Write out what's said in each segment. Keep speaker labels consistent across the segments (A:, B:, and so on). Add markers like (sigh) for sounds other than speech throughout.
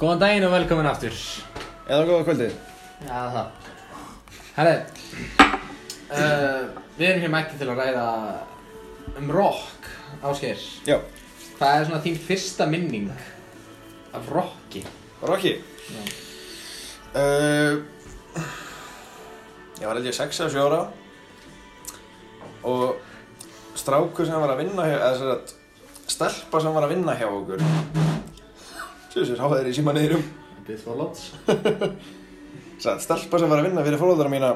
A: Góðan daginn og velkomin aftur
B: Eða góða kvöldið.
A: Já, það Herri uh, Við erum hér mætti til að ræða um rock, Ásgeir
B: Já.
A: Hvað er svona þín fyrsta minning af rocki?
B: Rocky.
A: Já.
B: Uh, ég var held ég 6 eða 7 ára og strákur sem var að vinna hjá, eða sem sagt, stelpa sem var að vinna hjá okkur. Sjössir, háða þeir í síma neyrum.
A: Bit for lots
B: Sagt, stelpa sem var að vinna fyrir fólóðara mína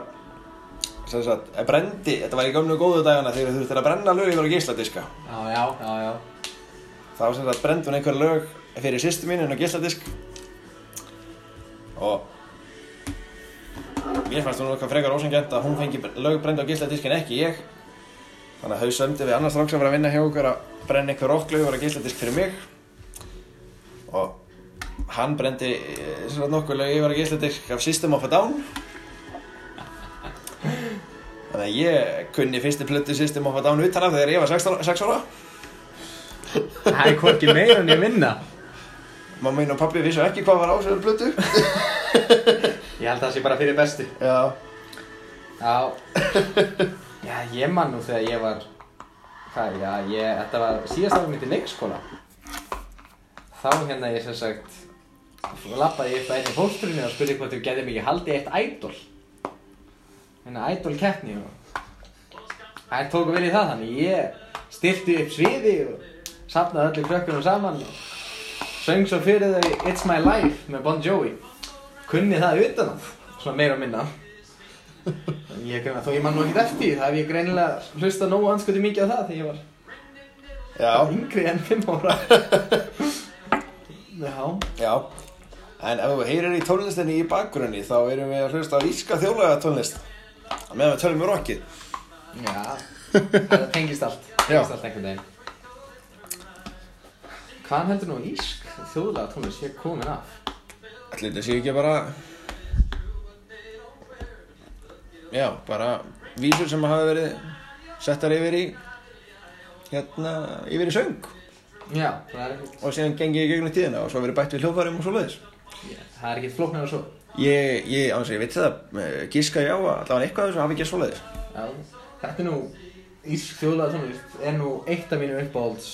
B: sem sagt, eh, brendi, þetta var í gömlu góðu dagana þegar þú þurftir að brenna lög yfir á geisladiska.
A: Já, já, já, já
B: þá sem sagt brendi hún einhver lög fyrir sýstu mín inn á gísladisk og mér fannst hún eitthvað frekar ósengjent að hún fengi lög brendi á gísladisk en ekki ég þannig að þau sömdi við annars strák sem var að vinna hjá okkur að brenna einhver rocklög var á gísladisk fyrir mig og hann brendi eh, sem sagt nokkur lög yfir á gísladisk af System of a Down þannig að ég kunni fyrstu plötu System of a Down utan af þegar ég var 16 6 ára
A: Það er hvorki meira en ég vinna
B: Mamma mín og pabbi vissu ekki hvað var á þessari blötu.
A: Ég held að það sé bara fyrir bestu
B: Já.
A: Já (laughs) Já, ég man nú þegar ég var Hvað, já, ég, þetta var síðast ára mitt í leikskóla Þá hérna ég sem sagt Lappaði ég upp að einni fóstrunni og spurði hvort þú getið mikið haldið í eitt ædol Hérna ædol keppni og Það tók vel í það þannig Ég stilti upp sviði og Safnaði öllu krökkunum saman og Söng svo fyrir þau It's My Life með Bon Jovi Kunni það utan að Svona meira og minna Ég greina, þó ég man nú ekkert eftir því, það hef ég greinilega hlustað nógu anskuti mikið á það þegar ég var
B: Já.
A: yngri en 5 (laughs) ára. Já,
B: Já. En ef þú heyrir í tónlistinni í bakgrunni þá erum við að hlusta á íska þjóðlega tónlist. Að meðan við tölum við rockið.
A: já, það tengist allt,
B: Já.
A: tengist allt einhvern veginn. Hvaðan heldur nú ísk þjóðlega tónlist ég komin af?
B: Ætli þetta sé ekki bara... Já, bara vísur sem hafa verið settar yfir í... Hérna, yfir í söng.
A: Já, það er ekkert,
B: Og síðan gengið í gegnum tíðina og svo verið bætt við hljóðfærum og svo
A: já, það er ekkert flóknar og svo.
B: Ég, ég, án þess að ég veit það, eh, giska já að allavega eitthvað af þessu hafi ekki svo
A: Já, þetta er nú, ísk þjóðlega tónlist er nú eitt af mínum uppáhalds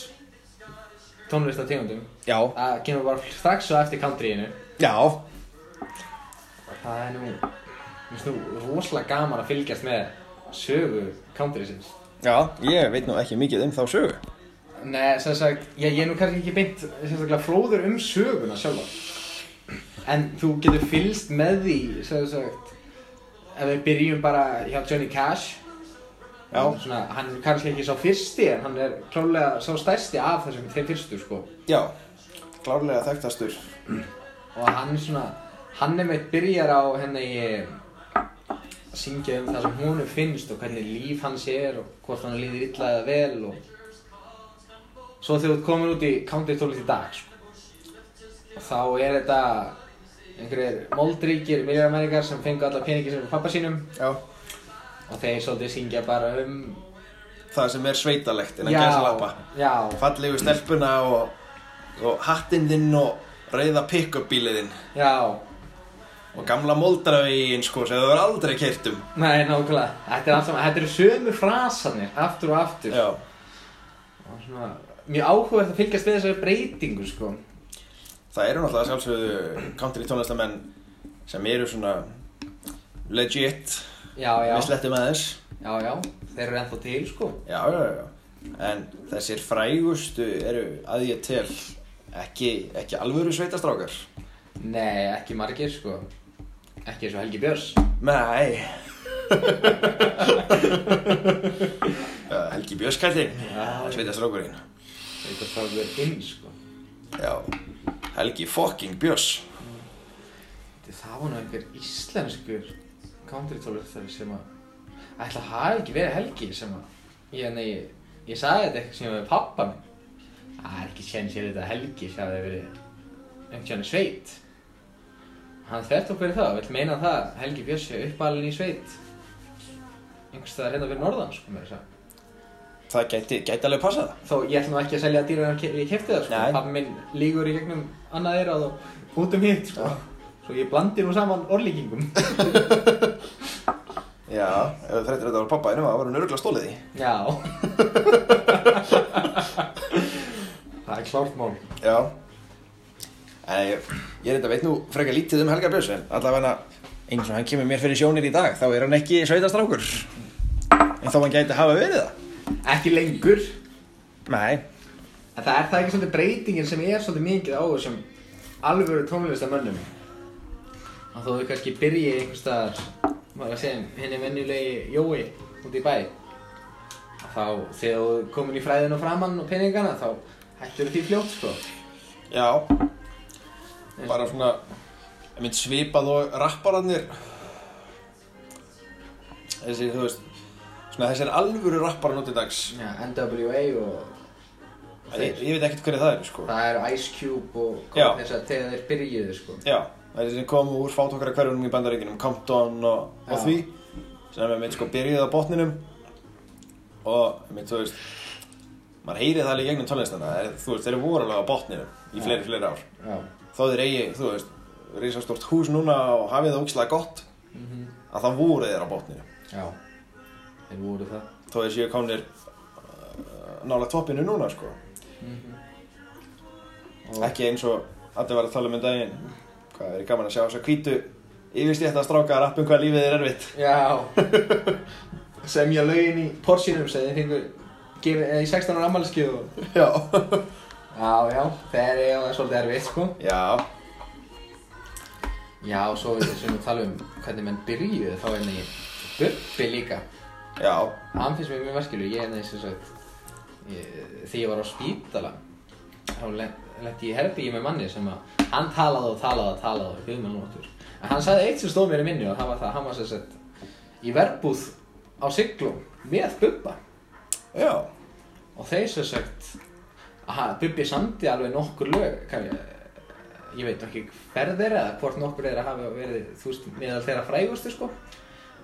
A: tónlistategundum.
B: Já.
A: Það kemur bara strax svo eftir countryinu.
B: Já,
A: Það er nú, mér finnst nú rosalega gaman að fylgjast með sögu countrysins.
B: Já, ég veit nú ekki mikið um þá sögu.
A: Nei, sem sagt, ég, ég er nú kannski ekki beint sérstaklega fróður um söguna sjálfa. En þú getur fylgst með því, sem sagt, ef við byrjum bara hjá Johnny Cash.
B: Já.
A: Svona, hann er kannski ekki sá fyrsti, en hann er klálega sá stærsti af þessum þeim fyrstu, sko.
B: Já, klárlega þekktastur.
A: og hann svona hann er meitt byrjar á henni að syngja um það sem húnu finnst og hvernig líf hans er og hvort hann líður illa eða vel og svo þegar þú ert komin út í countrytólið í dag sko. og þá er þetta einhverjir moldríkir miljardamærikar sem fengu alla peningi sem er pappa sínum
B: Já.
A: og þeir svolítið syngja bara um
B: Það sem er sveitalegt innan gæsalappa.
A: já,
B: Fallegu stelpuna og, og hattinn þinn og rauða pick-up bíliðinn.
A: já
B: Og gamla moldraveginn sko sem þau verður aldrei kert um.
A: Nei, nákvæmlega. Þetta er alltaf, þetta eru sömu frasanir, aftur og aftur.
B: Já.
A: og svona mjög áhugavert að fylgjast við þessari breytingu sko
B: Það eru náttúrulega sjálfsögðu country tónlistamenn sem eru svona legit.
A: já já
B: Við slettum aðeins.
A: já já þeir eru ennþá til sko
B: Já, já, já. En þessir frægustu eru að ég tel ekki, ekki alvöru sveitastrákar.
A: nei ekki margir sko ekki eins og Helgi Björns
B: Nei Já, Helgi Björnskallinn
A: Já.
B: Sveita strákurinn
A: þetta fáður inn sko
B: Já Helgi fucking Björns
A: Þetta- það var nú einhver íslenskur countrytólverðar sem að ætla að hafa ekki verið Helgi sem að ég, nei, ég, ég sagði þetta eitthvað sem við pappa minn það er ekki séns ég þetta Helgi sem hafi verið einhvern veginn sveit hann þvert okkur í það vill meina það að Helgi Björns sé uppalinn í sveit einhvers staðar hérna fyrir norðan sko með þess að segja.
B: það gæti, gæti alveg passað það.
A: Þó ég ætlum ekki að selja dýrar en ég kefti það sko.
B: Nei.
A: Pappi minn lígur í gegnum annað eirað og út um hitt sko. Svo ég blandi nú saman orlíkingum.
B: Já, ef þú þreytir þetta á pappaðinu, það var hann öruglega stólið í.
A: Já. það er klárt mál.
B: Já. En ég, ég reynda veit nú frekar lítið um Helgar Björns, en allavega eins og hann kemur mér fyrir sjónir í dag, þá er hann ekki sveitastrákur. En þá hann gæti hafa verið það.
A: Ekki lengur.
B: Nei,
A: En það er það ekki svolítið breytingin sem er svolítið mikið á þessum alvöru tónlistamönnum. Að þó þau kannski byrji einhvers staðar, maður að segja, henni venjulegi Jói út í bæ. Þá þegar þú ert komin í fræðin og framann og peningana þá hættur því fljótt sko.
B: Já Bara svona Ég mynd svipað og rappararnir Þessi, þú veist Svona þessir alvöru rapparar nú til dags
A: Já, NWA og
B: En ég, ég veit ekkert hverju það eru, sko
A: það eru Ice Cube og
B: Já.
A: þess að þegar þeir byrjuðu sko.
B: Já, það er sem komu úr fátokkara hverjunum í bandaríkinum Compton og, og
A: Já.
B: því sem ég mynd sko byrjuð á botninum og ég mynd, þú veist maður heyrið það alveg í gegnum tónlistana þeir- þú veist, þeir eru voru alveg á botninum í fleiri, fleiri ár
A: Já.
B: þó þeir eigi, þú veist, risastórt hús núna og hafið það ógislega gott
A: Mhm.
B: að það voru þeir á botninu
A: Já. Þeir voru það.
B: þó þeir séu komnir uh, nála toppinu núna, sko
A: Mhm. Og-
B: ekki eins og allir var að tala um um daginn hvað er gaman að sjá þess að hvítu yfirstétta stráka að rappa um hvað lífið er erfitt
A: Já (laughs) Semja lögin í porsinum sem þeir fengur í 16 ára ammælskið og...
B: já
A: (laughs) Já, já, þeir eru það svolítið erfitt sko
B: já,
A: Já, og svo við sem við tala um hvernig menn byrjuðu þá er negi Bubbi líka
B: já,
A: Hann finnst mér mjög verkilu, ég er negi sem sagt ég, Þegar ég var á spítala þá lendi ég herbyggi með manni sem að hann talaði og talaði og talaði og guð með nótur En hann sagði eitt sem stóð mér í minni og það var það, hann var sem sagt í verbúð á siglum með Bubba
B: já
A: Og þeir sem sagt, aha, Bubbi samdi alveg nokkur lög, kann, ég veit ekki hver þeirra eða hvort nokkur þeirra hafa verið, þú veist, meðal þeirra frægustu sko.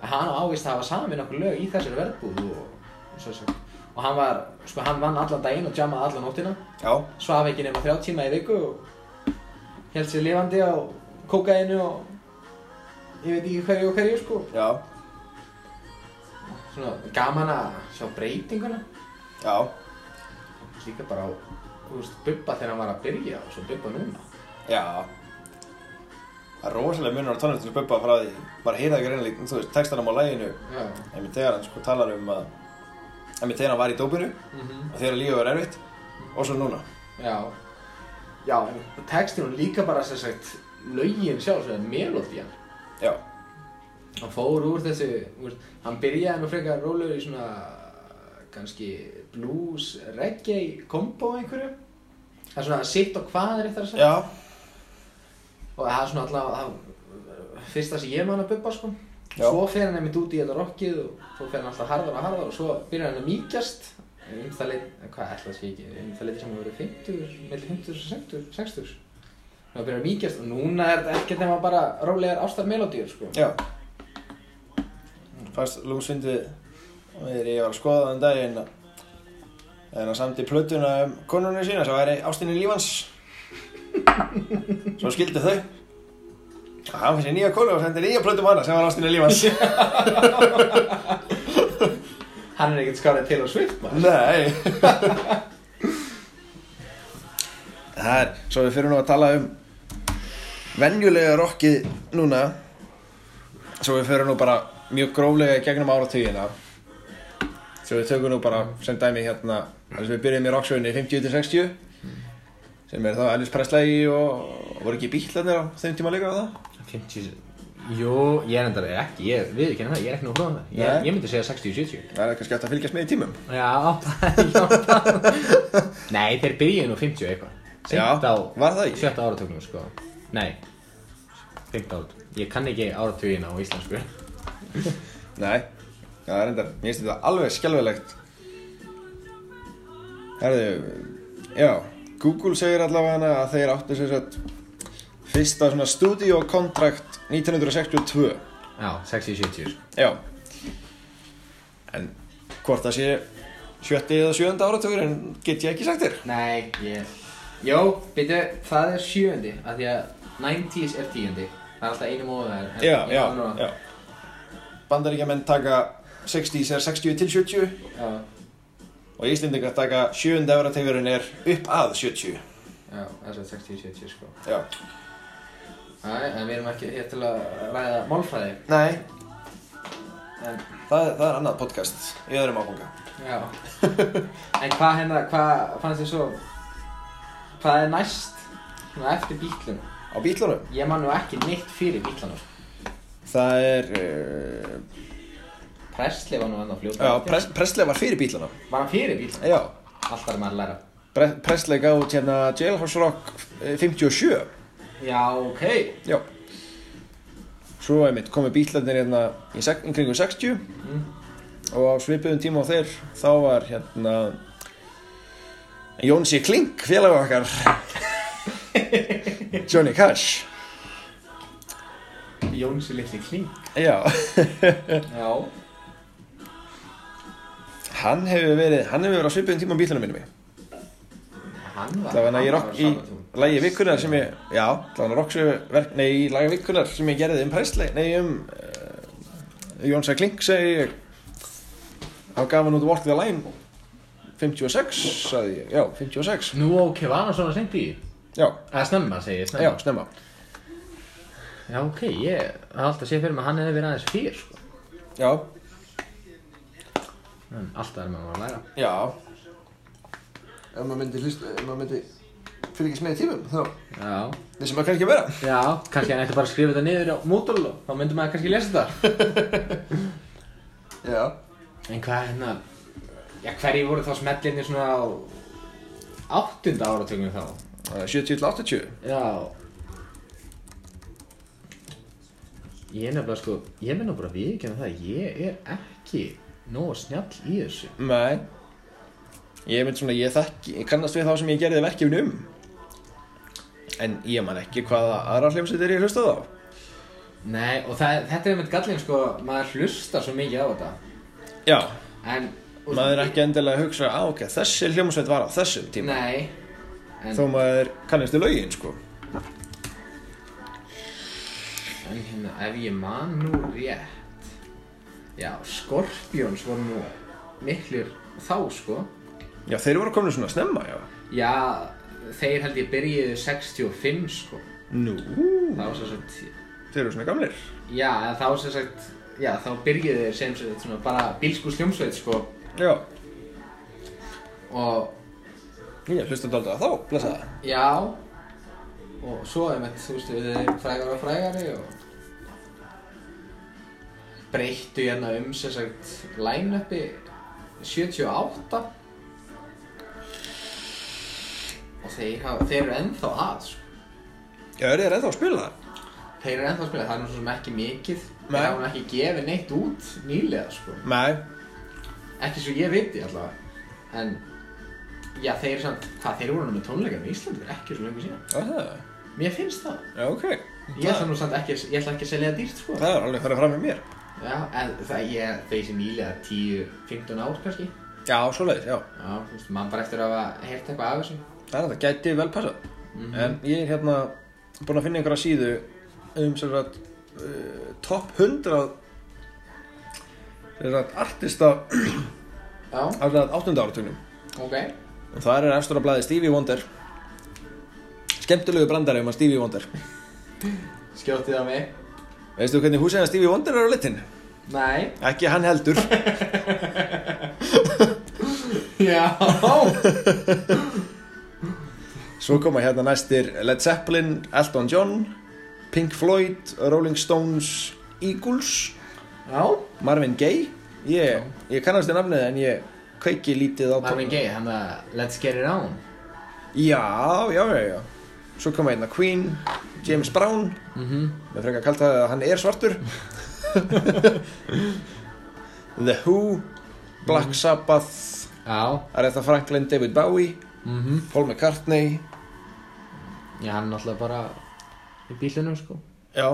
A: En hann ávist að hafa samið nokkur lög í þessari verðbúð og, og svo sem. Og hann var, sko, hann vann allan daginn og jammaði allan nóttina,
B: já,
A: svaf ekki nema þrjá tíma í viku og held sér lifandi á kókainu og ég veit ekki hverju og hverju sko.
B: já,
A: Svona gaman að sjá breytinguna.
B: já
A: líka bara á þú veist, Bubba þegar hann var að byrja og svo Bubba núna
B: já það er rosalega munur á tónlistinu bubba frá því maður heyrði ekki reynilega, þú veist, textanum á læginu
A: já,
B: einmitt þegar hann sko talar um að einmitt þegar hann var í dópinu og þegar lífið var erfitt og svo núna
A: já já, en textinu líka bara sem sagt lögin sjálf, sem er melodían
B: já,
A: hann fór úr þessu þú veist, hann byrjaði nú frekar rólegur í svona kannski blues, reggae kombo einhverju það er svona sitt og hvað er þetta að segja
B: já,
A: og það er svona alltaf það, fyrsta sem ég man að Bubba sko
B: Já.
A: svo fer hann einmitt út í þetta rockið og svo fer hann alltaf harðar og harðar og svo byrjar hann að mýkjast um það leit, hvað ætla að sé ekki um það leiti sem að vera 50, mellir 50 og 60 60 þá byrjar að mýkjast og núna er þetta ekkert nema bara rólegar ástarmelodíur sko
B: já fannst lúmsvindið og þegar ég var að skoða þann daginn að þegar hann samti plötuna um konunni sína svo væri ástinni lífans svo skildi þau og hann fyrir nýja konu og sendi nýja plötum hana sem var ástinni lífans
A: hann er ekkert skárið til og svift maður
B: Nei Það er, svo við fyrir nú að tala um venjulega rockið núna Svo við fyrir nú bara mjög gróflega í gegnum áratugina Svo við tökum nú bara sem dæmi hérna Þannig við byrjum í rocksögunni 50-60 Sem er þá Elvis Presley og voru ekki bílarnir á þeim tíma líka á það
A: 50 Jó, ég er endara ekki, ég við ekki það, ég er ekki nú hróðan það
B: Nei.
A: ég, ég myndi segja 60-70
B: Það er kannski hægt að fylgjast með í tímum
A: Já, það er hjálpað Nei, þeir byrjuði nú 50 eitthvað Seint
B: Já,
A: á
B: var það ekki?
A: Sjötta áratugnum, sko Nei, 15 áratug Ég kann ekki áratugina á íslensku
B: Nei, já, það er endar, mér finnst þetta alveg skelvilegt Herðu, já, Google segir allavega hana að þeir áttu sér satt fyrsta svona stúdíokontrakt 1962
A: Já, 60-70 sko.
B: Já En hvort það sé sjötti eða sjönda áratugur en get ég ekki sagt þér
A: Nei, ég... Jó, byrju, það er sjöndi, af því að 90s er tíundi. Það er alltaf einu móðu þær. en
B: já,
A: ég
B: já,
A: man núna.
B: já bandaríkjamenn taka 60s er 60 til 70
A: Já,
B: og Íslendingar taka sjönda áratugurinn er upp að 70
A: já, það er 60-70 sko.
B: já,
A: Nei, en við erum ekki hér til að ræða málfræði.
B: nei,
A: En,
B: það, það er annað podcast í öðrum áfunga
A: já. en hvað hérna, hvað fannst þið svo... Hvað er næst? Svona eftir bílunum.
B: á bílunum
A: Ég man nú ekki neitt fyrir bílunum.
B: Það er, uh,
A: Presley var nú ennþá fljóta.
B: já, pres, Presley var fyrir bílana
A: Var hann fyrir bílunum?
B: Já,
A: Alltaf er maður að læra.
B: Pre Presley gaf út hérna Jailhouse Rock eh, 57
A: Já, ok.
B: Já Svo einmitt komu bílarnir hérna í sek- í kringum 60
A: Mm.
B: og á svipuðum tíma á þeir þá var hérna Jónsi Klink, félag (laughs) okkar Johnny Cash
A: Jónsi litli kling.
B: Já,
A: Já.
B: hann hefur verið hann hefur verið á svipuðum tíma á bílarnir minni mig
A: Hann var...
B: Það var
A: hann
B: nægir rock í
A: sama tún.
B: lagi vikunar sem ég, já, það var rockverk, nei, í lagi vikunar sem ég gerði um Presley, nei, um uh, Jónsa Klink, segi ég, þá gaf hann út Walk the Line, 56, sagði ég, já, 56,
A: Nú ok, var hann svona sent í?
B: já,
A: Eða snemma, segi ég,
B: já,
A: snemma.
B: snemma,
A: Já. ok, ég... Það er alltaf að sé fyrir mig að hann hefði verið aðeins fyrir, sko.
B: já,
A: En alltaf er maður að læra.
B: já. Ef maður myndi hlust, ef maður myndi fylgjast með í tímum, þá,
A: Já.
B: þessi maður kannski vera.
A: Já, kannski hann ætti bara að skrifa þetta niður á Moodle og þá myndum maður kannski lesa þetta.
B: Já.
A: En hvað er hérna... Já, hverji voru þá smellinni svona á... áttunda áratugum þá?
B: 70 til 80.
A: Já. Ég er nefnilega sko, ég menna bara viðkjöna það, ég er ekki nóg snjall í þessu.
B: Nei Ég mynd svona, ég þekki, ég kannast við þá sem ég gerði verkefni um En ég man ekki hvaða aðra hljómsveitir ég hlustað á
A: Nei, og það, þetta er einmitt gallin sko, maður hlustar svo mikið á þetta.
B: Já,
A: En...
B: maður er ekki endilega að hugsa á, ok, þessi hljómsveit var á þessum tíma
A: Nei, en,
B: Þó maður kannast við lögin, sko
A: en hérna, ef ég man nú rétt Já, Scorpions voru nú miklir þá sko
B: Já, þeir voru komin svona snemma, já
A: Já, þeir held ég byrjuðu 65 sko
B: Nú,
A: Það var svo sagt,
B: þeir eru svona gamlir
A: já, en þá sem sagt Já, þá byrjuðu þeir sem sagt svona bara bílskus hljómsveit sko
B: Já,
A: Og,
B: ég hlustaði aldrei að þá, blessa það
A: já Og svo er með, þú veist, þeir frægar og frægari og Breyttu hérna um sem sagt line-upi 78 og þeir, hafa, þeir eru ennþá að sko.
B: Já, eru þeir ennþá að spila það?
A: þeir eru ennþá að spila, það er nú svo sem ekki mikið
B: Nei.
A: þeir hafa nú ekki gefið neitt út nýlega sko.
B: Nei,
A: ekki svo ég viti allavega en já, þeir, samt, hvað, þeir voru nú með tónleikar í Íslandi fyrir ekki svo lengur síðan
B: já, það
A: mér finnst það
B: Já, ok
A: ég ætla nú samt ekki, ég ætla ekki að selja það dýrt sko.
B: Það er alveg að fara fram með mér
A: já, en það ég, þeir sem nýlega 10-15 ár kannski
B: Já, svoleiðis, já
A: já, þú veist, mann bara eftir að hafa heyrt eitthvað af þessu Mhm.
B: Það er þetta gæti vel passað En ég er hérna búinn að finna einhverja síðu um sem sagt uh, top 100 sem sagt artista
A: já,
B: af sem sagt 8. áratugnum
A: ok,
B: og það er efstur að blæði Stevie Wonder Skemmtilegu brandari um að Stevie Wonder
A: skjótið á mig
B: Veistu hvernig húsið að Stevie Wonder er á litin?
A: nei,
B: Ekki hann heldur
A: (laughs) já
B: Svo koma hérna næstir Led Zeppelin, Elton John Pink Floyd, Rolling Stones Eagles
A: já
B: Marvin Gaye ég, ég kannast þið nafnið en ég kveiki lítið á
A: Marvin Gaye, hann að Let's Get It On
B: Já, já, já, já Svo koma hérna Queen, James Brown
A: mm -hmm.
B: Mér frekar að kalta það að hann er svartur (laughs) The Who Black Sabbath
A: Já
B: Aretha Franklin, David Bowie
A: mm
B: Paul McCartney
A: Já, hann er náttúrulega bara í bílunum sko
B: Já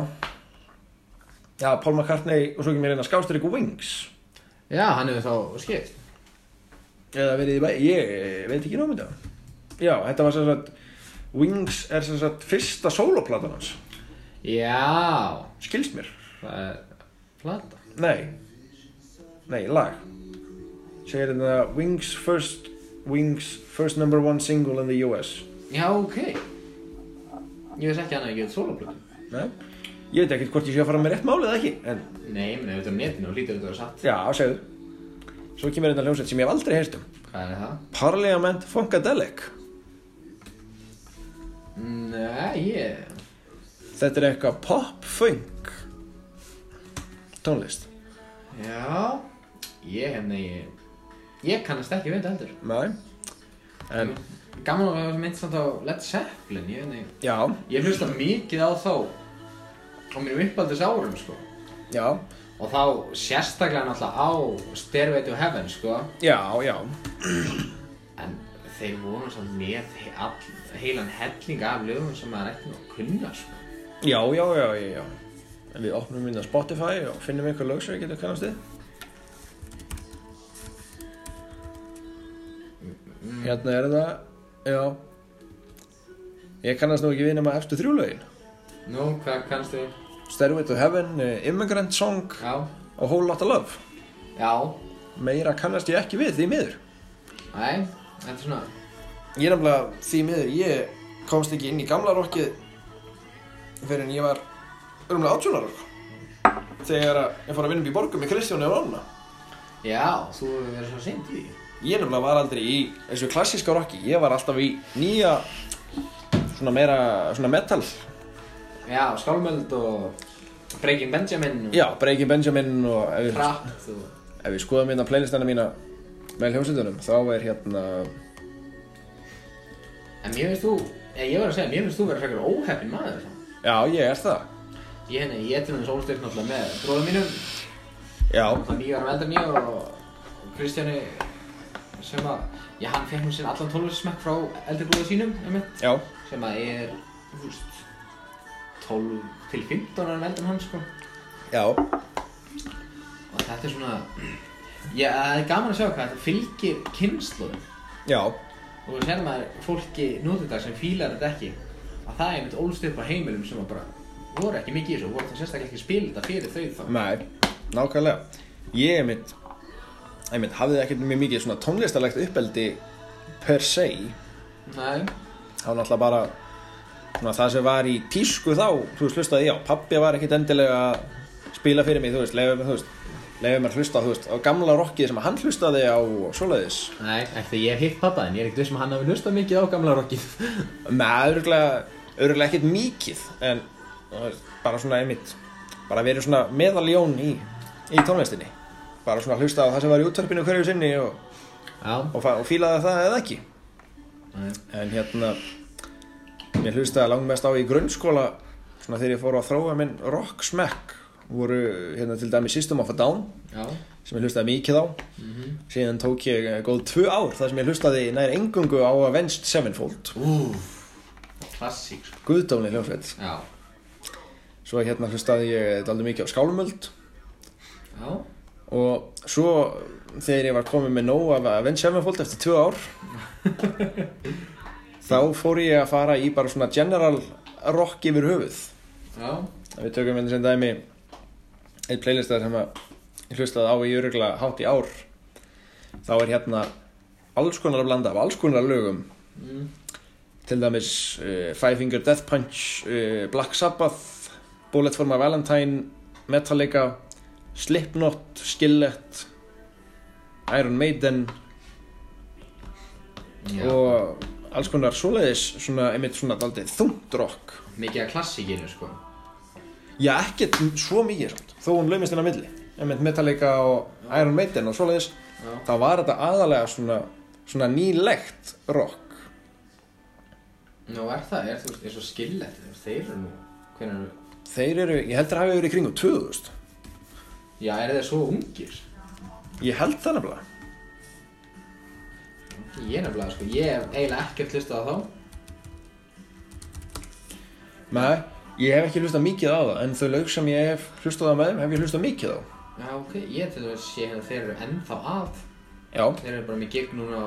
B: Já, Paul McCartney og svo ekki mér hérna skástríku Wings
A: Já, hann hefur þá skipt
B: eða verið í bæ, ég veit ekki námið það já, þetta var sem sagt Wings er sem sagt fyrsta sóloplatan hans
A: Já,
B: skilst mér,
A: það er plata.
B: nei nei, lag segir þetta Wings first Wings first number one single in the US
A: Já, ok. Ég veist ekki að hann hefði gefið soloplötu.
B: nei, ég veit ekkert hvort ég sé að fara með rétt málið eða ekki, en
A: Nei, menn, auðvitað á netinu og lítið auðvitað að satt.
B: já, segðu svo kemur þetta hljómsveit sem ég hef aldrei heyrst um
A: Hvað er það?
B: Parliament Funkadelic
A: Nei, ég...
B: þetta er eitthvað pop-funk tónlist
A: Já, ég hef negi... Ég kannast ekki við þetta heldur.
B: nei, en
A: Gaman að vera mynd samt á Led Zeppelin, ég hef negi...
B: já,
A: Ég hlusta mikið á þá á mínum uppaldis árum, sko.
B: já
A: Og þá sérstaklega náttúrulega á Stairway to Heaven, sko.
B: já, já,
A: En þeir voru samt með he all, heilan helling af lögum sem maður ætti nú að kunna, sko.
B: já, já, já, já, já. En við opnum minna Spotify og finnum einhver lög sem við getum kannast við hérna er þetta já ég kannast nú ekki við nema eftir þrjú lögin
A: Nú, hvað kannast þú?
B: Stairway to Heaven, eh, Immigrant Song
A: Já.
B: og Whole Lotta Love
A: Já.
B: meira kannast ég ekki við því miður
A: Æ, þetta er svona...
B: Ég er nefnilega því miður, ég komst ekki inn í gamla rokkið fyrir en ég var örumlega átjónar þegar að ég fór að vinna upp í borgum með Kristjáni og Rána
A: Já, þú hefur verið svo sent í því.
B: Ég nefnilega var aldrei í þessu klassíska rokki ég var alltaf í nýja svona meira, svona metal
A: Já, Skálmöld og Breaking Benjamin og
B: Já, Breaking Benjamin og ef við,
A: Fratt og...
B: ef við skoðum hérna playlistana mína með hljómsveitunum þá er hérna
A: En mér finnst þú, eða ég var að segja, mér finnst þú vera frekar óheppin maður sko. samt.
B: Já, ég er það
A: Ég henni, ég til þess ólstyrk náttúrulega með bróðum mínum,
B: Já,
A: það nýja ára veldar nýja og Kristjáni sem að, já hann fekk nú sér allan tólvöldsmekk frá eldri bróða sínum, einmitt,
B: já,
A: sem að er, þú veist, 12 til 15 ára veldar hann, sko.
B: já
A: Og þetta er svona, já, það er gaman að sjá hvað þetta fylgir kynnslóðum.
B: Já,
A: og við sér maður fólki nútidag sem fílar þetta ekki að það er einmitt ólst upp á heimilum sem að bara voru ekki mikið í þessu og voru það sérstaklega ekki að spila þetta fyrir þau þá
B: Nei, nákvæmlega Ég einmitt, einmitt hafði ekkert mjög mikið svona tónlistarlegt uppeldi per se
A: Nei,
B: þá náttúrulega bara svona, það sem var í tísku þá þú veist, hlustaði ég á, pabbi var ekkert endilega að spila fyrir mig, þú veist, leiðum þú veist leiðum mér að hlusta, þú veist, á gamla rockið sem hann hlustaði á og svoleiðis
A: Nei eftir ég hef hitt pappa en ég er ekkert veist sem hann hafi hlustað mikið á gamla rockið
B: með öruglega, öruglega ekkert mikið en þú veist, bara svona einmitt bara verið svona meðaljón í, í tónlistinni bara svona hlusta á það sem var í útvarpinu hverju sinni og
A: Já
B: og, fa- og fílaði það eða ekki
A: Nei.
B: en hérna mér hlustaði langmest á í grunnskóla svona þegar ég fór að þróa minn rock smack voru hérna til dæmi System of a Down
A: Já
B: sem ég hlustaði mikið á
A: Mhm.
B: síðan tók ég eh, góð tvö ár þar sem ég hlustaði nær engungu á Avenged Sevenfold
A: Úf Klassík sko
B: guðdómli hljófett
A: Já
B: svo hérna hlustaði ég daldi mikið á Skálmöld
A: Já
B: og svo þegar ég var komið með nóg af Avenged Sevenfold eftir tvö ár þá fór ég að fara í bara svona general rock yfir höfuð
A: Já
B: við tökum hérna sem dæmi eitt playlistað sem að ég hlustaði á í örugla hátt í ár þá er hérna alls konar að blanda af alls konar lögum
A: mm.
B: til dæmis uh, Five Finger Death Punch uh, Black Sabbath Bullet for my Valentine Metallica Slipknot Skillet Iron Maiden
A: Já
B: og alls konar svoleiðis svona, einmitt svona daldið þungt rock
A: Mikið af klassíkinu sko
B: Já, ekkert svo mikið samt, þó hún laumist inn á milli Einmitt Metallica og Iron Maiden og svoleiðis
A: Já
B: þá var þetta aðalega svona, svona nýlegt rock
A: Nú er það, er þú veist, er svo skillett þú veist, Þeir eru nú Hvernig eru
B: Þeir eru, ég heldur að hafa verið í kringum 2000
A: Já, eru þeir svo ungir?
B: Ég held það nefnilega
A: Ég er nefnilega sko, ég hef eiginlega ekkert hlustað á þá
B: Nei, ég hef ekki hlustað mikið á það en þau lög sem ég hef hlustað á með þeim hef ég hlustað mikið á
A: Já, ok, ég til dæmis sé hérna þeir eru ennþá að
B: Já.
A: Þeir eru bara með gig núna á,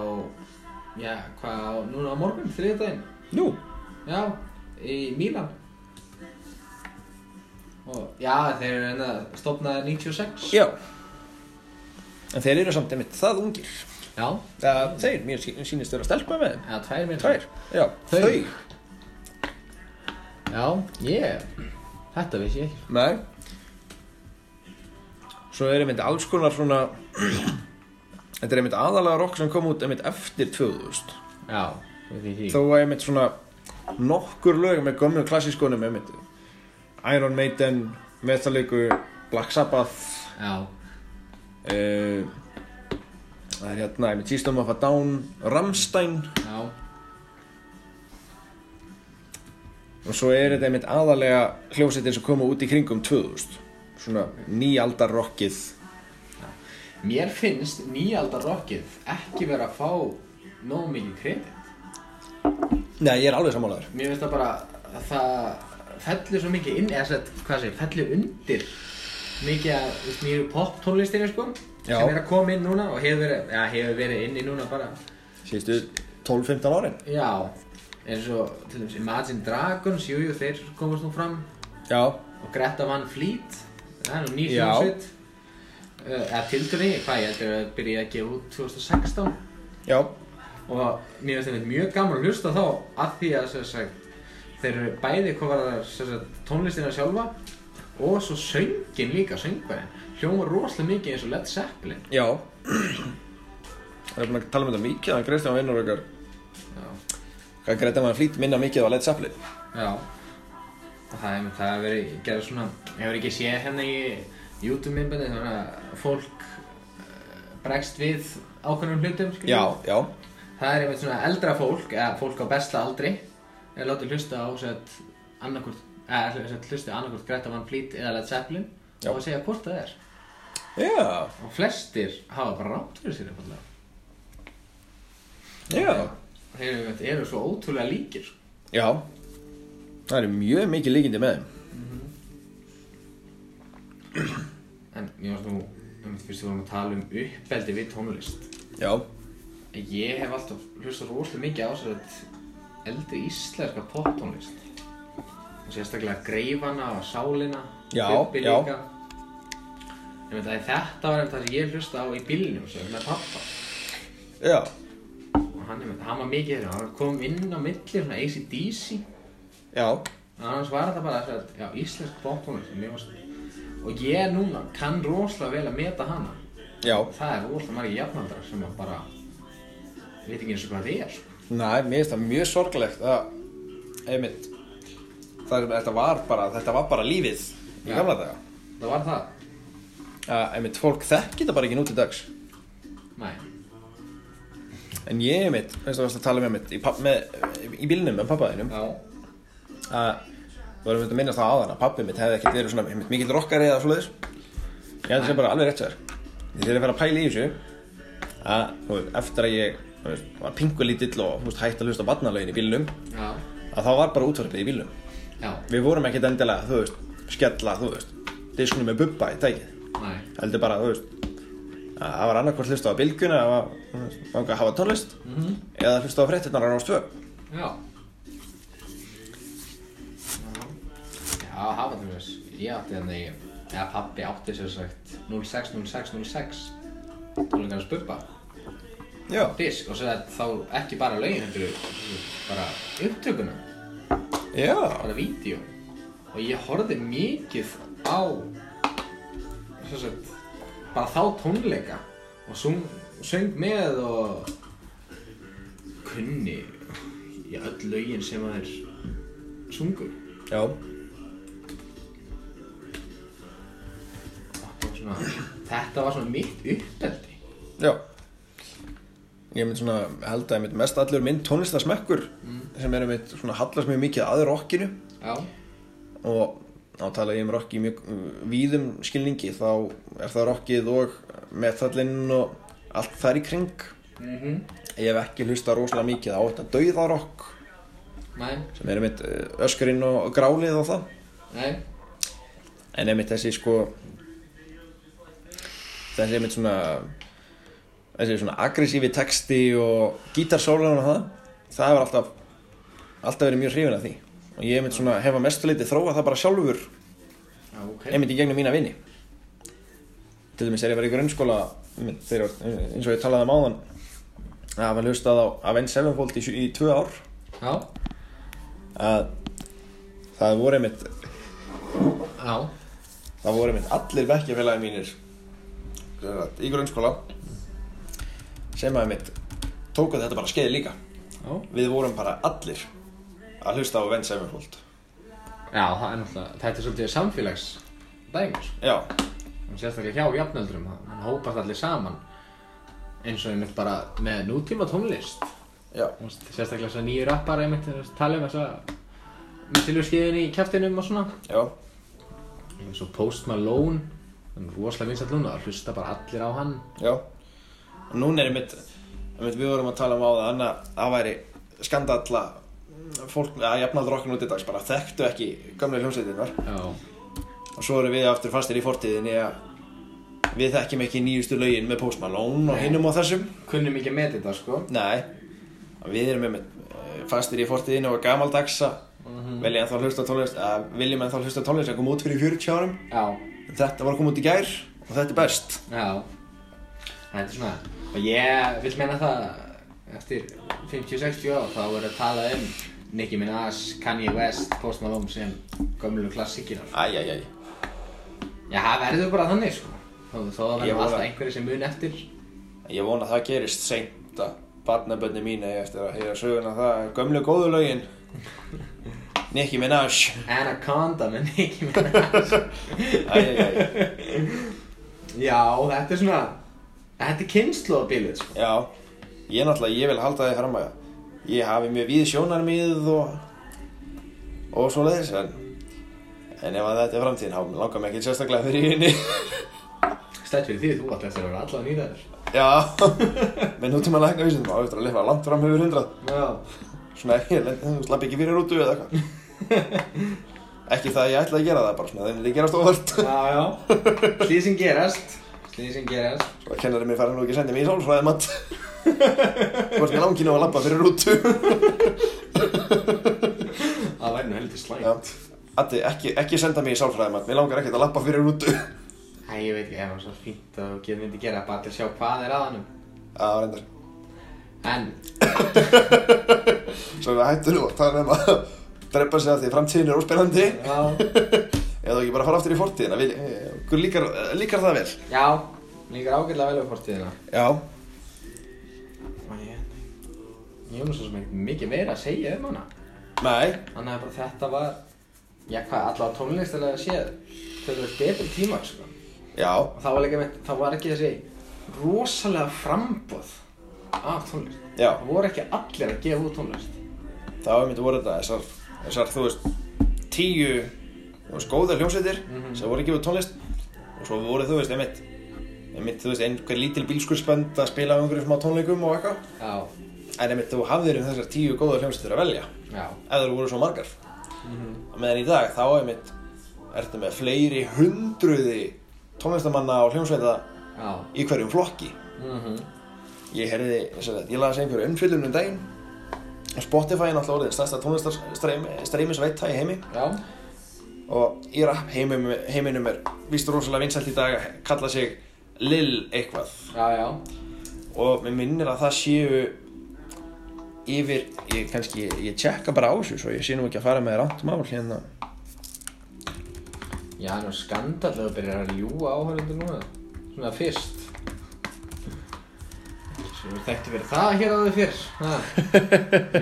A: já, hvað, á- núna á morgun, þriðdaginn.
B: Nú.
A: Já, í Mílan. Og, já, þeir eru hérna stopnaði 96.
B: Já. En þeir eru samt einmitt það ungir.
A: Já,
B: Það, þeir, mér sí- sýnist þeir að stelpa með þeim.
A: eða tvær minn.
B: Tvær. Já.
A: Þau. Já, ég, þetta vissi ég ekki.
B: Nei. Svo er einmitt alls konar svona... (clears throat) Þetta er einmitt aðalega rock sem kom út einmitt eftir 2000.
A: Já, við því
B: Þó var einmitt svona nokkur lög með gömmu klassískunum einmitt. Iron Maiden, Metallica, Black Sabbath,
A: Já,
B: Eh, Það er hérna, ég með Tístum of a Down, Rammstein
A: já,
B: og svo er þetta einmitt aðalega hljómsveitir sem koma út í kringum 2000 svona nýaldarrokkið
A: Mér finnst nýjaldarrokkið ekki vera að fá nóg mikið kredit.
B: Nei, ég er alveg sammálaður
A: Mér finnst það bara að það fellur svo mikið inn, eða sett, hvað segir, fellur undir mikið að, þú veist, nýju poptónlistinni, sko,
B: Já.
A: sem er að koma inn núna og hefur verið, já, hefur verið inni núna bara.
B: síðustu 12-15 árin
A: Já, eins og, til dæmis, Imagine Dragons, jú, jú, þeir komast nú fram
B: Já,
A: og Greta Van Fleet, það er nú nýjum
B: Já.
A: hljómsveit. Uh, eða tildur hvað ég heldur að byrja að gefa út 2016.
B: já,
A: og mér finnst þetta mjög gaman að hlusta þá að því að sem sagt, þeir eru bæði hvað var það tónlistina sjálfa og svo söngin líka, söngvæðin hljóma rosalega mikið eins og Led Zeppelin
B: já Það er búin að tala um þetta mikið, það er Kristján Vinnur okkar
A: já,
B: hvað greita maður flýt minna mikið á Led Zeppelin
A: já. Og það er það hefur verið gerð svona hefur ekki séð hérna í YouTube myndbandi þannig að fólk eh, bregst við ákveðnum hlutum skilur.
B: Já, já,
A: það er einmitt svona eldra fólk eða fólk á besta aldri er látið hlusta á sett annarkvort eða sett hlusta annarkvort Greta Van Fleet eða Led Zeppelin
B: Já.
A: og segja hvort það er
B: já,
A: og flestir hafa bara rámt fyrir sér einfallega
B: já
A: þeir eru, einmitt- eru svo ótrúlega líkir
B: Já, það eru mjög mikið líkindi með þeim
A: en mér varst nú einmitt fyrst við vorum að tala um uppeldi við tónlist
B: Já,
A: ég hef alltaf hlustað rosalega mikið á sett eldri íslenska poptónlist og sérstaklega greifana og sálina
B: Já,
A: Bubbi
B: já.
A: líka. Ég veit að þetta var einmitt það sem ég hlusta á í bílnum sem með pappa
B: já,
A: og hann, einmitt, hann var mikið hérna, hann kom inn á milli hérna svona ACDC
B: já
A: en annars var þetta bara þess að, já, íslensk poptónlist sem ég varst og ég núna kann rosalega vel að meta hana
B: Já,
A: það er rosalega margir jafnaldrar sem að bara veit ekki eins og hvað þið er sko.
B: næ, mér finnst það mjög sorglegt að, einmitt, það, þetta var bara, þetta var bara lífið í
A: Já.
B: gamla daga.
A: það var það
B: Að, einmitt, fólk þekkir það bara ekki nú til dags.
A: Nei.
B: En ég, einmitt, veist það varst að tala um, einmitt, í, papp, með, í bílnum með pappaðinum,
A: Já,
B: að við varum einmitt að minnast það áðan að pappið mitt hefði ekkert verið svona, einmitt, mikill rokkari eða svoleiðis. Ég held að það sé bara alveg rétt sér. Ég þegar að fara að pæla í þessu, að, þú veist, eftir að ég, þú veist, var pingulítill og, þú veist, hætti að hlusta á barnalögin í bílnum,
A: já,
B: að þá var bara útvarpið í bílnum.
A: já,
B: Við vorum ekkert endilega, þú veist, skella, þú veist, diskunum með bubba í tækið.
A: næ,
B: Heldur bara, þú veist, að það var annarkvæmt hlusta á bylgjuna, það var þú veist, þangað að hafa tónlist, eða hlusta á fréttinnar á Rástvö.
A: já. Já, hafa þú veist, ég átti þannig, eða pabbi átti sér sagt 060606 tónleikarnas bubba,
B: Já.
A: disk og sér að þá ekki bara lögin, heldur bara upptökuna,
B: Já.
A: bara vídeo og ég horfði mikið á sér sagt, bara þá tónleika og sung, söng með og kunni í öll lögin sem að er sungur
B: Já.
A: Þetta var svona, þetta var svona mitt uppeldi
B: Já. Ég mynd svona, held að ég mynd mest allur minn tónlistasmekkur sem er einmitt svona hallast mjög mikið að rockinu
A: Já,
B: og þá tala ég um rock í mjög mm, víðum skilningi, þá er það rockið og metallinn og allt þar í kring.
A: mhm, mm
B: Ég hef ekki hlustað rosalega mikið á þetta dauðarokk
A: nei,
B: sem er einmitt eh, öskurinn og grálið og það
A: nei,
B: en einmitt þessi sko þessi einmitt svona þessi svona aggressífi texti og gítarsólan og það það hefur alltaf alltaf verið mjög hrifin af því og ég mynd svona hefa mestu leiti þróa það bara sjálfur
A: Já, ok.
B: einmitt í gegnum mína vini til dæmis er ég verið í grunnskóla einmitt, þegar, eins og ég talaði um áðan að maður hlustað á Avenged Sevenfold í, sjö- í tvö ár
A: Já,
B: að það voru einmitt
A: já.
B: Það voru minn allir bekkjafélagi mínir sem sagt, í grunnskóla sem að mitt tóku þetta bara skeið líka
A: Já,
B: Við vorum bara allir að hlusta á Venn Sevenfold
A: já það er náttúrulega, þetta er svolítið sko. samfélags dæmis.
B: Já,
A: Og sérstaklega hjá jafnöldrum, það- hann hópast allir saman. Eins og einmitt bara með nútíma tónlist.
B: já,
A: Og Sérstaklega þess að nýju rappar einmitt þú veist, tala um þess að mittilurskiðin í kjæftinum og svona.
B: já,
A: Eins og Post Malone, hann er rosalega vinsall núna, það hlusta bara allir á hann.
B: já Og núna er einmitt, einmitt við vorum að tala um á það annað að það væri skandalla fólk að jafnaldur okkur nú til dags bara þekktu ekki gamlega hljómsveitinnar
A: Já,
B: og svo erum við aftur fastir í fortíðinni að við þekkjum ekki nýjustu lögin með Post Malone og hinum og þessum
A: kunnum ekki að meta þetta sko.
B: Nei, við erum með fastir í fortíðinu og gamaldagsa mm -hmm. viljum ennþá hlusta á tónlist að viljum ennþá hlusta á tónlist að koma út fyrir 40 árum
A: Já,
B: þetta var að koma út í gær og þetta er best
A: Já, þetta er svona og ég vil meina það eftir 50-60 ára þá er að tala um Nicki Minaj, Kanye West, Post Malone sem gömlu klassikinar
B: Æjæjæj
A: Já, það verður bara þannig sko þó, þó að
B: Ég
A: verður
B: voru-
A: alltaf einhverju sem mun eftir
B: Ég vona að það gerist seint að barnabönni mín eigi eftir að heyra söguna það gömlu góðu lögin Nicki Minaj
A: Anaconda með Nicki Minaj
B: Æjæjæj
A: (laughs) Já, þetta er svona þetta er kynnslóðabilið sko
B: Já, ég náttúrulega, ég vil halda því fram að ég hafi mjög víð sjónarmið og, og svo leiðis en, en ef að þetta er framtíðin þá langar mig ekki sérstaklega fyrir henni (laughs)
A: Stætt fyrir því, þú ætlaði þess að vera allavega nýræður
B: Já, menn út um að lækna vísindum á eftir að lifa langt fram yfir hundrað
A: Já,
B: svona (laughs) ekki, þú slapp ekki fyrir rútu eða eitthvað ekki það að ég ætla að gera það bara svona, það myndi gerast óvart
A: já, já (laughs) Því sem gerast Því sem gerast
B: Svo að kennari mér fara nú ekki að senda mig í sálfræðimat Þú ert með langinu að lappa fyrir rútu
A: Það væri nú heldur slæmt
B: Já, Addi, ekki, ekki senda mig í sálfræðimat, mér langar ekkert að lappa fyrir rútu
A: Æ, ég veit ekki, það var svo fínt að þú getur myndi gera bara til að sjá hvað er að hannum.
B: Já, reyndar.
A: En,
B: Svo við hættum nú að tala um að drepa sig að því framtíðin er óspennandi
A: já,
B: eða ekki bara fara aftur í fortíðina. Við, okkur líkar, líkar það vel.
A: (laughs) já, líkar ágætlega vel á fortíðina.
B: Já.
A: Og ég, ég hef nú svo sem ekkert mikið meira að segja um hana.
B: Nei.
A: Þannig að bara þetta var, já hvað, allavega tónlistilega séð, þau eru betri tímar, sko.
B: Já.
A: Og það var líka með, það var ekki þessi rosalega framboð af tónlist.
B: Já.
A: Það voru ekki allir að gefa út tónlist.
B: Þá hefur myndið voru þetta þessar, þessar, þú veist, tíu, þú veist, góða hljómsveitir sem voru ekki við tónlist og svo voru, þú veist, einmitt, einmitt, þú veist, einhver lítil bílskurspönd að spila á einhverjum smá tónleikum og eitthvað.
A: Já,
B: En einmitt, þú hafðir um þessar tíu góða hljómsveitir að velja.
A: já,
B: ef það voru svo margar
A: Mhm.
B: og meðan í dag þá er mitt ertu með fleiri hundruði tónlistamanna og hljómsveita
A: já,
B: í hverjum flokki
A: mhm,
B: ég herði, ég las einhverju umfyllum um daginn og Spotify er náttúrulega orðið stærsta tónlistarstreymisveita í heimi
A: já,
B: og í rap heiminum, heiminum er víst rosalega vinsælt í dag að kalla sig Lil eitthvað
A: já, já,
B: og mér minnir að það séu yfir, ég kannski, ég tjekka bara á þessu svo ég sé nú ekki að fara með rámt mál hérna
A: Já, það er nú skandall að þú byrjar að ljúa áhörðundur núna. Svona fyrst. Svo við þekktu fyrir það hér áður fyrr. (laughs) Ha?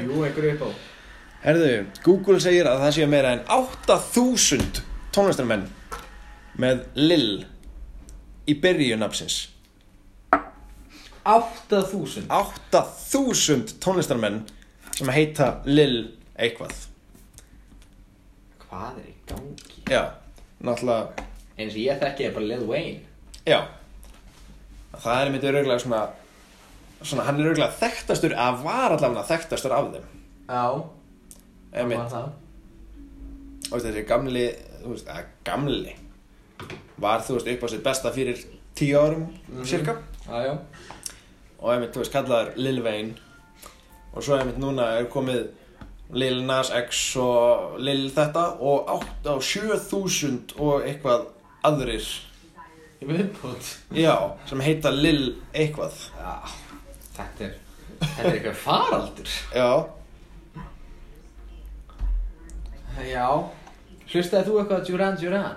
A: Ljúa einhverju upp á.
B: Herðu, Google segir að það séu meira en 8000 tónlistarmenn með Lil í byrjun nafnsins.
A: 8000.
B: 8000 tónlistarmenn sem heita Lil eitthvað.
A: Hvað er í gangi?
B: Já, náttúrulega,
A: Eins og ég þekki er bara Lil Wayne.
B: já. Það er mitt öruglega svona, svona hann er öruglega þekktastur, að var allavega þekktastur af þeim.
A: Já,
B: Eða
A: það
B: mitt,
A: var það.
B: þú veist, þessi gamli, þú veist, að gamli var, þú veist, upp á sitt besta fyrir tíu árum, cirka.
A: Já, já.
B: og einmitt, þú veist, kallaður Lil Wayne og svo einmitt núna er komið Lil Nas X og Lil þetta og, átt- og 7000 og eitthvað aðrir
A: Ég viðbútt.
B: já, sem heita Lil eitthvað
A: Já, þetta er, þetta er eitthvað faraldur.
B: já,
A: Já. Hlustaði þú eitthvað á Duran Duran?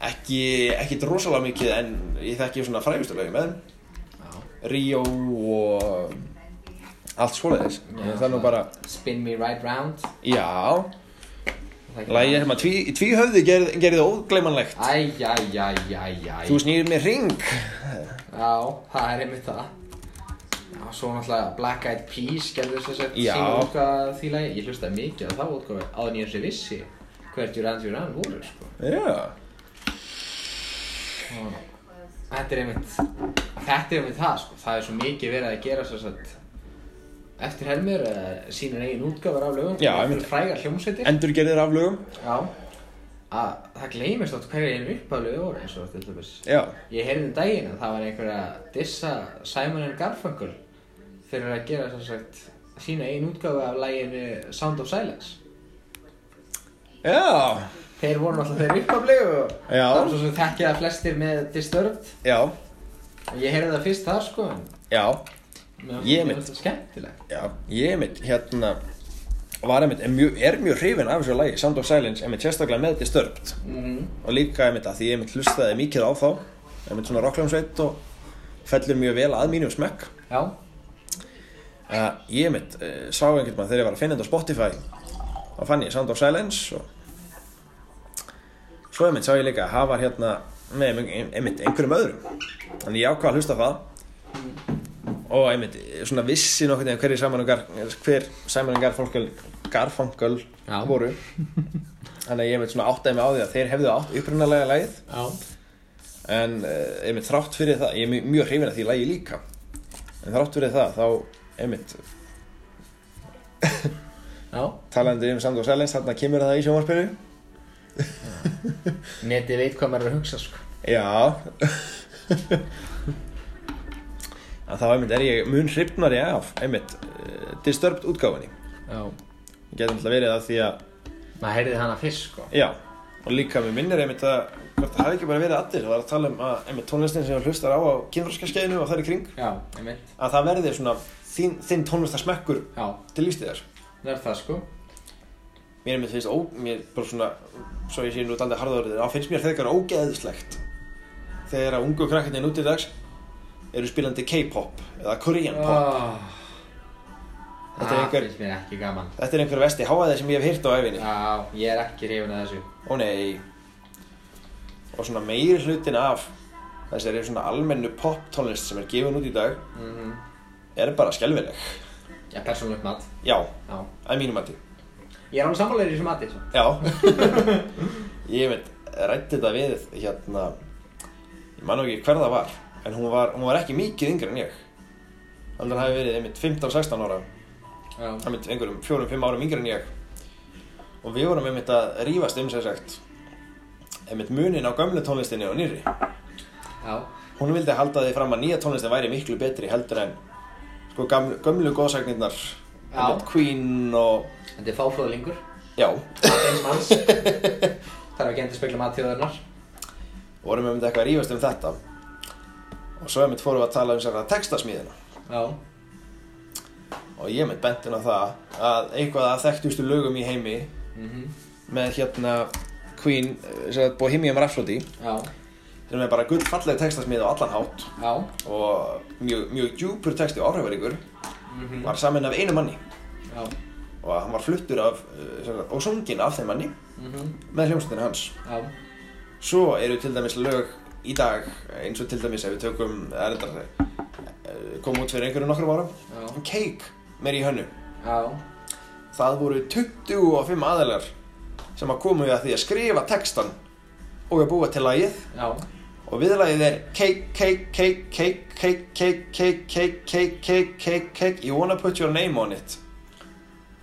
B: ekki, ekkit rosalega mikið en ég þekki svona frægustu lögum en
A: Já.
B: Rio og allt svoleiðis
A: Já,
B: það er nú
A: svona-
B: bara,
A: Spin me right round.
B: já
A: Er það ekki
B: Lægið
A: það?
B: sem að tví, tvíhöfði gerð, gerði ógleymanlegt
A: Æ, æ, æ, æ, æ.
B: Þú snýr mér ring
A: Já, það er einmitt það. Já, svo náttúrulega Black Eyed Peas gerður þess að
B: Já.
A: sína útgáð því lagi. Ég hlustaði mikið á þá útgáðu áður en ég þessi vissi hver Duran Duran voru, sko.
B: Já
A: Þetta er einmitt, þetta er einmitt það, sko. Það er svo mikið verið að gera svo að eftir helmir uh, sínir eigin útgáfar af lögum.
B: Já,
A: einmitt.
B: einmitt.
A: Frægar hljómsveitir.
B: Endur gerðir af lögum
A: Já. Að það gleymist átt hverja einu uppáðlegu voru eins og til dæmis.
B: Já
A: Ég heyrði um daginn að það var einhver að dissa Simon and Garfunkel fyrir að gera svo sagt sína eigin útgáfu af læginu Sound of Silence.
B: Já
A: Þeir voru náttúrulega þeir uppáðlegu og
B: Já.
A: það var svo sem þekkja það flestir með Disturbed
B: Já
A: og ég heyrði það fyrst þar sko en
B: Já
A: Mér
B: Ég
A: mér
B: mitt.
A: finnst það skemmtilegt.
B: Já Ég mitt hérna Var einmitt er mjög, er mjög hrifin af þessu lagi Sound of Silence Einmitt sérstaklega með Disturbed
A: Mhm.
B: Og líka einmitt að því ég einmitt hlustaði mikið á þá Einmitt svona rockljónsveit og Fellur mjög vel að mínum smekk
A: Já.
B: Uh, ég mitt uh, sá einhvern veginn þegar ég var að finna þetta á Spotify þá fann ég Sound of Silence og svo einmitt sá ég líka að hafa hérna með ein- einmitt einhverjum öðrum þannig ég ákvað að hlusta á það og einmitt eh, svona vissi nokkuð veginn hverjir Simon og Gar, hver Simon og Garfunkel Garfunkel
A: Já.
B: voru þannig að ég einmitt svona áttaði mig á því að þeir hefðu átt upprunalega lagið
A: Já.
B: en uh, einmitt þrátt fyrir það ég er mjög- mjög hrifin að því lægi líka en þrátt fyrir það þá einmitt
A: Já.
B: talandi um Sound of Silence þarna kemur það í sjónvarpinu
A: Neti veit hvað maður er að hugsa sko.
B: já en þá einmitt er ég mun hrifnari af einmitt uh, Disturbed útgáfunni
A: Já.
B: ég geti alltaf verið það því að
A: Maður heyrði hana fyrst sko.
B: já og líka mér minnir einmitt að hvort það hafi ekki bara verið allir það var að tala um að einmitt tónlistin sem þú hlustar á á kynfroskaskeiðinu og þar í kring
A: Já, einmitt.
B: að það verði svona þinn, þinn tónlistarsmekkur
A: Já,
B: til lífstíðar
A: það er það sko.
B: mér er mér finnst ó, mér bara svona svo ég sé nú daldið harðaður þá finnst mér þegar ógeðislegt þegar að ungu krakkarnir nútið dags eru spilandi K-pop eða Korean pop
A: Oh.
B: Þetta er
A: Það
B: einhver-
A: finnst mér ekki gaman.
B: þetta er einhver vesti háaðið sem ég hef hýrt á æfinni
A: Já, ég er ekki hrifin að þessu.
B: ó nei og svona meiri hlutin af þessari svona almennu pop tónlist sem er gefin út í dag
A: Mm
B: er bara skelvileg
A: Já, persónulegt mat.
B: já,
A: Já.
B: að mínum mati
A: Ég er alveg sammálega í þessu mati. sko. Svo.
B: já (laughs) ég veit, rætti þetta við hérna ég man nú ekki hver það var en hún var, hún var ekki mikið yngri en ég þannig að hann hafi verið einmitt 15-16 ára
A: Já.
B: einmitt einhverjum 4-5 árum yngri en ég og við vorum einmitt að rífast um sem sagt einmitt munin á gömlu tónlistinni og nýri
A: Já.
B: hún vildi halda því fram að nýja tónlistin væri miklu betri heldur en sko gamlu, gömlu góðsagnirnar
A: Já.
B: einmitt Queen og
A: Þetta er fáflóðlingur.
B: já,
A: Mat eins manns. (laughs) Þarf ekki endur spekla mat þjóðarinnar.
B: vorum einmitt eitthvað að rífast um þetta og svo einmitt fórum við að tala um sem sagt textasmíðina
A: Já.
B: og ég með bentin á það að eitthvað af þekktustu lögum í heimi
A: Mm
B: með hérna Queen, eh, sem sagt Bohemian Rhapsody
A: Já.
B: sem er bara gull falleg textasmið á allan hátt
A: Já.
B: og mjög, mjög djúpur texti og áhrifaríkur
A: Mhm.
B: var samin af einu manni
A: Já.
B: og hann var fluttur af eh, sem sagt, og sungin af þeim manni
A: Mhm.
B: með hljómsveitinu hans
A: Já.
B: svo eru til dæmis lög í dag eins og til dæmis ef við tökum erindar, eh, kom út fyrir einhverju nokkrum árum
A: Já.
B: Cake með í hönnu
A: Já.
B: Það voru 25 aðilar sem að komu að því að skrifa textan og að búa til lagið
A: Já.
B: og viðlagið er cake, cake, cake, cake, cake, cake, cake, cake, cake, cake, cake, cake, you wanna put your name on it.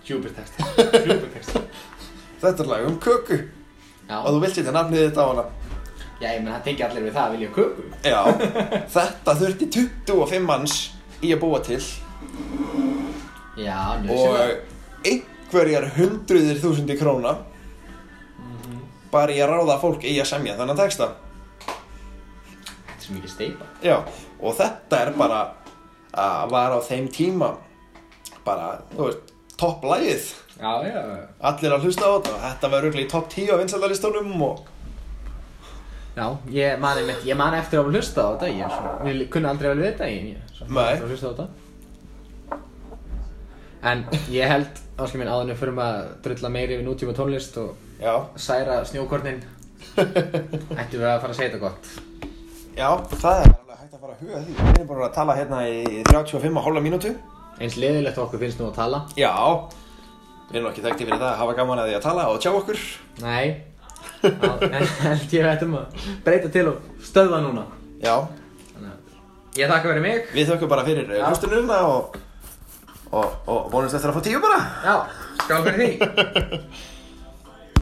A: Júpitertexti. Júpitertexti.
B: Þetta er lag um köku
A: Já.
B: og þú vilt setja nafnið þetta á hana.
A: Já, ég menn það tengja allir við það að vilja köku.
B: Já, þetta þurfti 25 manns í að búa til
A: Já, njössi.
B: og einhverjar hundruðir þúsundi króna bara í að ráða fólk í að semja þannig að texta
A: Þetta er svo mikið steipa.
B: Já, og þetta er bara að var á þeim tíma bara, þú veist, topp lagið
A: Já, já, já.
B: allir að hlusta á þetta þetta var röglega í topp 10 á vinsaldalistónum og
A: Já, ég man, einmitt, ég man eftir að hafa hlusta á þetta, ég er svona, við kunni aldrei vel við þetta, ég er svona,
B: Nei.
A: eftir að hlusta á þetta. En ég held, áskil minn, áðunum fyrir maður að drulla meiri yfir nútíma tónlist og
B: já,
A: særa (laughs) snjókornin, ættum við að fara að segja þetta gott.
B: já, það er alveg hægt að fara að huga að því við erum bara að tala hérna í 35 og hálfa mínútu
A: Eins leðilegt okkur finnst nú að tala.
B: Já, við erum nú ekki þekktið fyrir það að hafa gaman að því að tala og tjá okkur
A: (laughs) Nei, Já, en (laughs) held ég að ættum að breyta til og stöðva núna.
B: Já,
A: Þannig að ég þakka fyrir mig.
B: við þökkum bara fyrir eh,
A: Já.
B: hlustununa og, og, og vonumst eftir að fá tíu bara
A: Já, skál fyrir því.